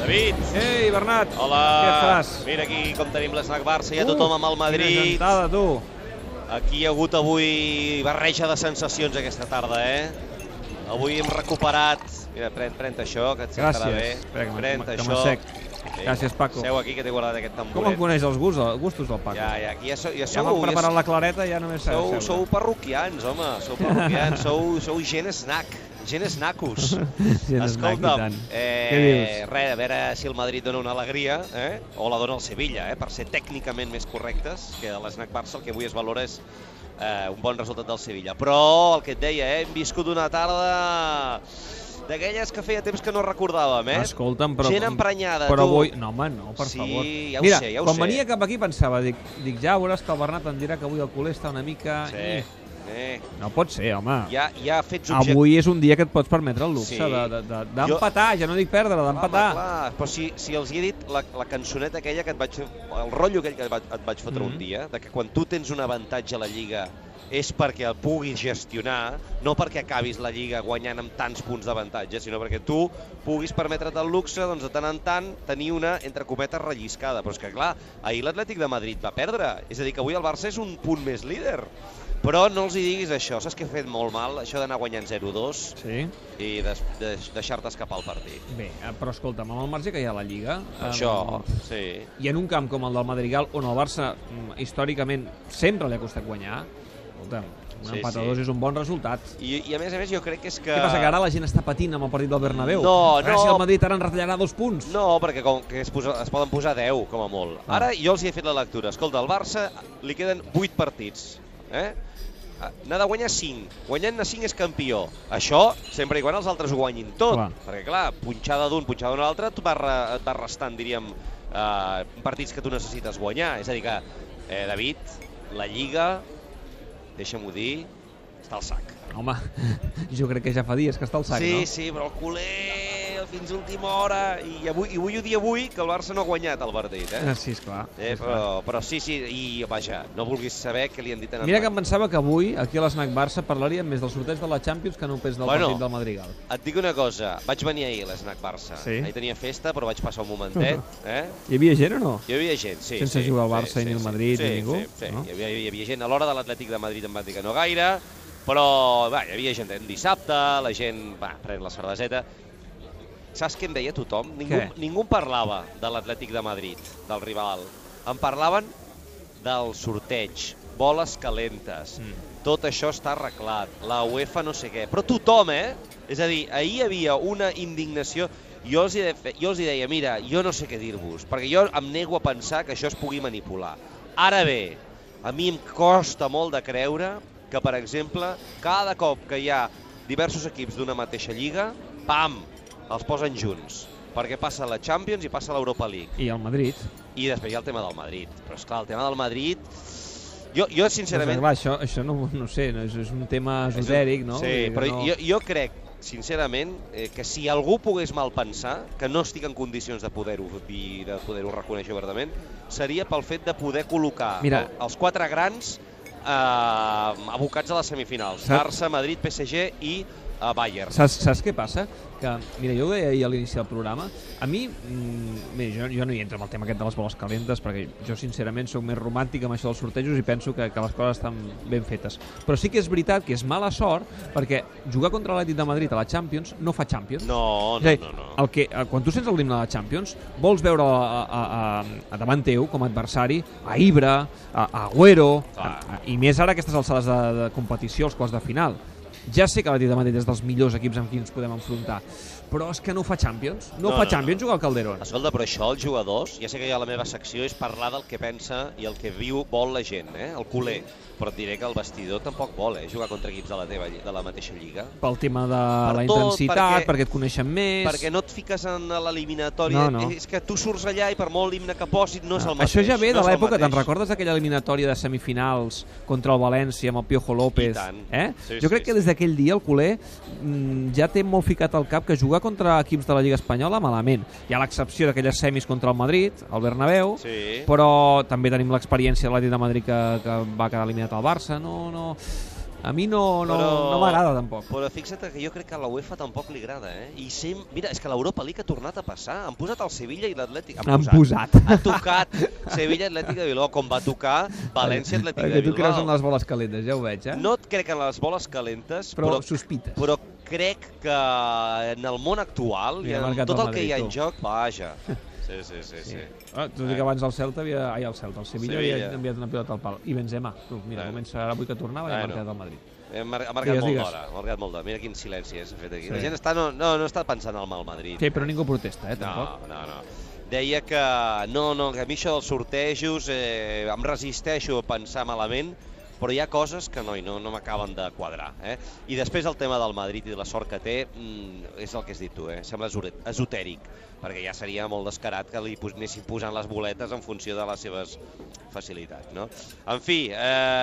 David. Ei, Bernat. Hola. Què fas? Mira aquí com tenim l'Snac Barça, hi ha tothom amb el Quina Madrid. gentada, tu. Aquí hi ha hagut avui barreja de sensacions aquesta tarda, eh? Avui hem recuperat... Mira, pren, pren això, que et sentarà Gràcies. bé. Espera, que me- Pren que això. m'assec. Vinga, Gràcies, Paco. Seu aquí, que t'he guardat aquest Com em tamboret. coneix els gustos, els gustos del Paco? Ja, ja, aquí ja, sou, ja ja sou, m'han ja, preparat la clareta i ja només s'ha de sou, seure. sou parroquians, home, sou parroquians, sou, sou gent snack, gent snacos. Gent snack, i tant. Què eh, dius? res, a veure si el Madrid dona una alegria, eh? o la dona el Sevilla, eh? per ser tècnicament més correctes, que a l'Snac Barça el que avui es valora és eh, un bon resultat del Sevilla. Però el que et deia, eh? hem viscut una tarda d'aquelles que feia temps que no recordàvem. Eh? Escolta'm, però... Gent emprenyada, però tu. Avui... No, home, no, per Sí, favor. ja ho Mira, sé, ja ho quan sé. venia cap aquí pensava, dic, dic ja veuràs que el Bernat em dirà que avui el culer està una mica... Sí. Eh, No pot ser, home. ja, ja fets objecte. Avui és un dia que et pots permetre el Sí. luxe sí. d'empatar, de, ja no dic perdre, d'empatar. Home, clar, però si, si els hi he dit la, la cançoneta aquella que et vaig... El rotllo aquell que et vaig, et vaig fotre mm -hmm. Mhm. un dia, de que quan tu tens un avantatge a la Lliga és perquè el puguis gestionar, no perquè acabis la Lliga guanyant amb tants punts d'avantatge, sinó perquè tu puguis permetre't el luxe, doncs, de tant en tant, tenir una, entre cometes, relliscada. Però és que, clar, ahir l'Atlètic de Madrid va perdre. És a dir, que avui el Barça és un punt més líder. Però no els hi diguis això. Saps que he fet molt mal, això d'anar guanyant 0-2 Sí. i des, des, deixar-te escapar el partit. Bé, eh, però escolta'm, amb el marge que hi ha a la Lliga... eh, Això, sí. I en un camp com el del Madrigal, on el Barça mm, històricament sempre li ha costat guanyar, escolta'm, un Sí, sí, empat sí. a dos és un bon resultat. I, I a més a més jo crec que és que... Què passa, que ara la gent està patint amb el partit del Bernabéu? No, a veure no. si el Madrid ara en retallarà dos punts. No, perquè com que es, posa, es poden posar 10, com a molt. Ah. Ara jo els hi he fet la lectura. Escolta, al Barça li queden 8 partits. Eh? Ah, N'ha de guanyar 5. Guanyant-ne 5 és campió. Això sempre i quan els altres ho guanyin tot. Clar. Perquè, clar, punxada d'un, punxada d'un altre, tu vas, re, et vas restant, diríem, eh, partits que tu necessites guanyar. És a dir que, eh, David, la Lliga, deixa'm-ho dir, està al sac. Home, jo crec que ja fa dies que està al sac, sí, no? sí, però el culer fins a última hora. I avui, i avui ho dia avui que el Barça no ha guanyat el partit, eh? Ah, Sí, esclar. eh però, però sí, sí, i vaja, no vulguis saber què li han dit en Mira el que em pensava que avui, aquí a l'Snac Barça, parlaríem més dels sorteig de la Champions que no pas del Bueno. partit del Madrigal. Et dic una cosa, vaig venir ahir a l'Snac Barça. Sí. Ahir tenia festa, però vaig passar un momentet, eh? Hi havia gent o no? Hi havia gent, sí. Sense sí, jugar al sí, Barça sí, i ni al sí, Madrid sí, ni ningú, Sí, sí. no? Hi, havia, hi havia gent. A l'hora de l'Atlètic de Madrid em van dir que no gaire, però va, hi havia gent en dissabte, la gent va, pren la cerveseta. Saps què em deia tothom? Ningú, Què? ningú en parlava de l'Atlètic de Madrid, del rival. En parlaven del sorteig, boles calentes, mm. tot això està arreglat, la UEFA no sé què, però tothom, eh? És a dir, ahir hi havia una indignació, jo els, hi de, fe- jo els hi deia, mira, jo no sé què dir-vos, perquè jo em nego a pensar que això es pugui manipular. Ara bé, a mi em costa molt de creure que, per exemple, cada cop que hi ha diversos equips d'una mateixa lliga, pam, els posen junts, perquè passa la Champions i passa l'Europa League. I al Madrid. I després hi ha el tema del Madrid. Però, és clar el tema del Madrid... Jo, jo Doncs, sincerament... clar, això, això no, no ho sé, no, és, és un tema és un- esotèric, no? Sí, Vull dir que però no... jo, jo crec, sincerament, eh, que si algú pogués mal pensar, que no estic en condicions de poder-ho dir, de poder-ho reconèixer obertament, seria pel fet de poder col·locar Mira. el- els quatre grans eh, abocats a les semifinals. Saps- Barça, Madrid, PSG i eh, Bayern. Saps, saps què passa? Que, mira, jo ho deia ahir a l'inici del programa. A mi, mm, mira, jo, jo no hi entro amb el tema aquest de les boles calentes, perquè jo sincerament sóc més romàntic amb això dels sortejos i penso que, que les coses estan ben fetes. Però sí que és veritat que és mala sort, perquè jugar contra l'Atlètic de Madrid a la Champions no fa Champions. No, És no, a dir, no. no. El que, eh, quan tu sents el himne de la Champions, vols veure a, a, a, a davant teu, com a adversari, a Ibra, a, a Agüero, a, Clar. a, i més ara a aquestes alçades de, de competició, els quarts de final. Ja sé que l'Atlètic de Madrid és dels millors equips amb qui ens podem enfrontar, però és que no fa Champions. No, No, no fa no, Champions jugar al Calderón. Escolta, però això, els jugadors, ja sé que ja la meva secció és parlar del que pensa i el que viu, vol la gent, eh? el culer. Però et diré que el vestidor tampoc vol eh? jugar contra equips de la, teva, lli- de la mateixa lliga. Pel tema de Per la tot, intensitat, perquè- perquè, et coneixen més... Perquè no et fiques en l'eliminatòria. Eh, No, no. És que tu surts allà i per molt himne que posin no és el mateix. Ah, Això ja ve no de és el l'època, te'n mateix. recordes d'aquella eliminatòria de semifinals contra el València amb el Piojo López? I tant. Eh? Sí, jo sí, crec que des d'aquell dia el culer mm, ja té molt ficat al cap que jugar contra equips de la Lliga Espanyola malament. Hi ha l'excepció d'aquelles semis contra el Madrid, el Bernabéu, Sí. però també tenim l'experiència de l'Atlètic de Madrid que, que va quedar eliminat al Barça. No, no... A mi no, no, Però- no m'agrada tampoc. Però fixa't que jo crec que a la UEFA tampoc li agrada, eh? I sem... Mira, és que l'Europa League ha tornat a passar. Han posat el Sevilla i l'Atlètic. Han posat. Ha tocat Sevilla Atlètic de Bilbao, com va tocar València Atlètic de Perquè tu creus Bilbao. en les boles calentes, ja ho veig, eh? No et crec en les boles calentes, però, però, però sospites. però crec que en el món actual, i Mira, ha en marcat tot el el que hi ha Madrid, en tu. joc, vaja. Sí, sí, sí. Eh. sí. Ah, tot i que abans el Celta havia... Ai, el Celta, el Sevilla, Sevilla. havia enviat una pilota al pal. I Benzema, tu, mira, Bueno. comença ara avui que tornava i ha Bueno. marcat el Madrid. Hem mar ha marcat Digues, molt digues. d'hora. Ha marcat molt d'hora. Mira quin silenci eh, s'ha fet aquí. La Sí. gent està, no, no, no està pensant en el mal Madrid. Sí, però ningú protesta, eh, tampoc. No, no, no. Deia que no, no, que a mi això dels sortejos eh, em resisteixo a pensar malament, però hi ha coses que no, i no, no m'acaben de quadrar. Eh? I després el tema del Madrid i de la sort que té, mm, és el que has dit tu, eh? sembla esore- esotèric, perquè ja seria molt descarat que li pos anessin posant les boletes en funció de les seves facilitats. No? En fi,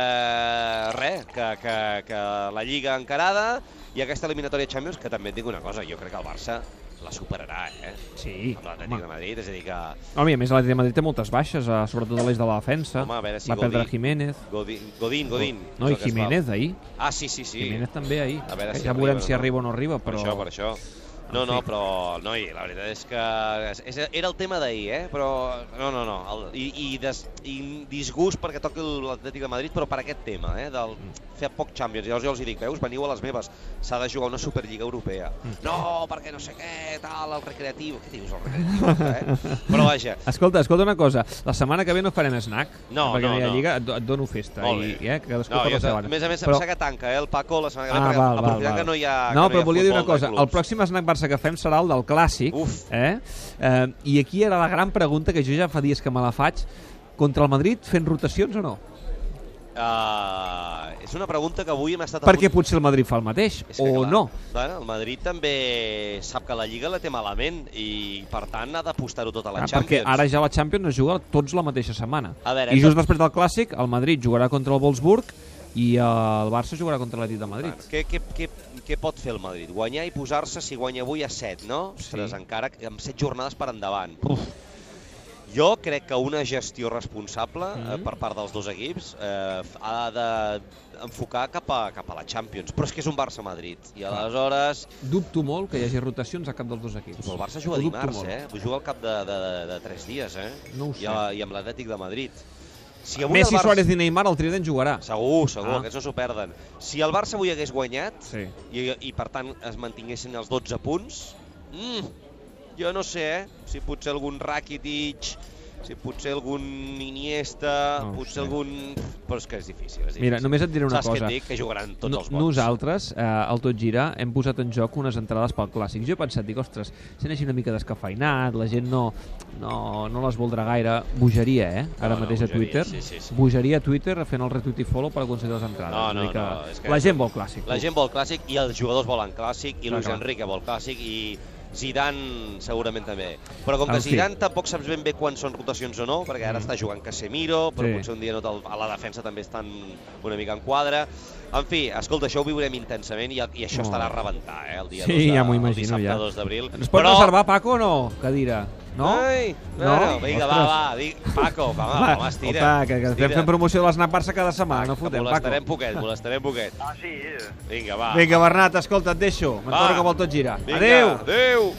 eh, res, que, que, que la Lliga encarada i aquesta eliminatòria Champions, que també et dic una cosa, jo crec que el Barça la superarà, eh? Sí, amb l'Atlètic de home. Madrid, és a dir que Home, i a més l'Atlètic de Madrid té moltes baixes, eh, sobretot a l'eix de la defensa. Home, a veure si Va perdre Godín- Jiménez. Oh, Godín, Godín, Godín No, és el que i es fa. Jiménez ahir. Ah, sí, sí, sí. Jiménez també ahir. A veure Que si ja arriba veurem o si no. arriba o no arriba, Per però... això, per això. No, En no, fi. però, noi, la veritat és que és, és- era el tema d'ahir, eh? Però, no, no, no, el, i, i, des, i disgust perquè toqui l'Atlètic de Madrid, però per aquest tema, eh? Del Mm. fer poc Champions. Llavors jo els hi dic, veus, veniu a les meves, s'ha de jugar una Superliga Europea. Mm. No, perquè no sé què, tal, el recreatiu. Què dius, el recreatiu? Eh? Però vaja, Escolta, escolta una cosa. La setmana que ve no farem snack. Eh, No, perquè no, hi ha no. Lliga et, do- et dono festa. Molt I, bé. eh, que cadascú No, per jo la te- seva banda. a més a més, em Però- sap que tanca, eh, el Paco, la setmana que ve, Ah, perquè val, val, aprofitant val. que no hi ha... que no hi ha però volia dir una futbol doncs, de cosa. El clubs. pròxim Snack Barça que fem serà el del Clàssic. Uf. Eh? Eh, I aquí era la gran pregunta, que jo ja fa dies que me la faig. Contra el Madrid, fent rotacions o no? Ah, és una pregunta que avui hem estat... a Perquè punt- potser el Madrid fa el mateix, És que, o clar, no. Bueno, el Madrid també sap que la Lliga la té malament i, per tant, ha d'apostar-ho tot a la Ah, perquè Champions. ara ja la Champions es juga tots la mateixa setmana. A veure, I hem just de- després del Clàssic, el Madrid jugarà contra el Wolfsburg i eh, el Barça jugarà contra l'Atlètic de Madrid. Bueno, què, què, què, què pot fer el Madrid? Guanyar i posar-se, si guanya avui, a 7, no? Sí. Ostres, encara que- amb 7 jornades per endavant. Uf. Jo crec que una gestió responsable mm. eh, Mhm. per part dels dos equips eh, f- ha d'enfocar cap, a, cap a la Champions. Però és que és un Barça-Madrid. I aleshores Dubto molt que hi hagi rotacions a cap dels dos equips. Però el Barça juga Ho dubto dimarts, molt. eh? Juga al cap de, de, de, de tres dies, eh? No ho sé. I, a, i amb l'Atlètic de Madrid. Si avui Messi, el Barça... Suárez i Neymar, el trident jugarà. Segur, segur, Ah. ah. aquests no s'ho perden. Si el Barça avui hagués guanyat Sí. i, i per tant es mantinguessin els 12 punts, mm, jo no sé, eh? Si potser algun Rakitic, si potser algun Iniesta, No ho no sé. potser algun... Però és que és difícil, és difícil. Mira, només et diré una Saps cosa. què et dic? Que jugaran tots No, els bons. nosaltres, eh, al Tot Girar, hem posat en joc unes entrades pel Clàssic. Jo he pensat, dic, ostres, sent així una mica descafeinat, la gent no, no, no les voldrà gaire. Bogeria, eh? Ara No, no, mateix a bogeria, Twitter. sí, sí, sí. Bogeria a Twitter fent el retweet i follow per aconseguir les entrades. No, Vull no, dir que no, és que- La gent vol Clàssic. La gent vol clàssic i els jugadors volen clàssic i Clar, Luis clar. Enrique vol clàssic i Zidane segurament també. Però com En que fi. Mm. Zidane tampoc saps ben bé quan són rotacions o no, perquè ara està jugant Casemiro, però Sí. potser un dia no te'l- a la defensa també estan una mica en quadre. En fi, escolta, això ho viurem intensament i, i això Molt estarà a bé. rebentar, eh, el dia Sí, 2 de, ja m'ho el imagino, dissabte ja. 2 d'abril. Ens pots reservar, Paco, o no? Cadira. No? Ai, No? no? Bueno, vinga, va, Ostres. va, di... Paco, va, va, home, estira. Opa, que, que estem estira. fent promoció de l'Snack Barça cada setmana, no que fotem, molestarem Paco. poquet, molestarem poquet. Ah, sí. Vinga, va. Vinga, Bernat, escolta, et deixo. Va. M'entorno que vol tot girar. Vinga, Adéu! Adéu.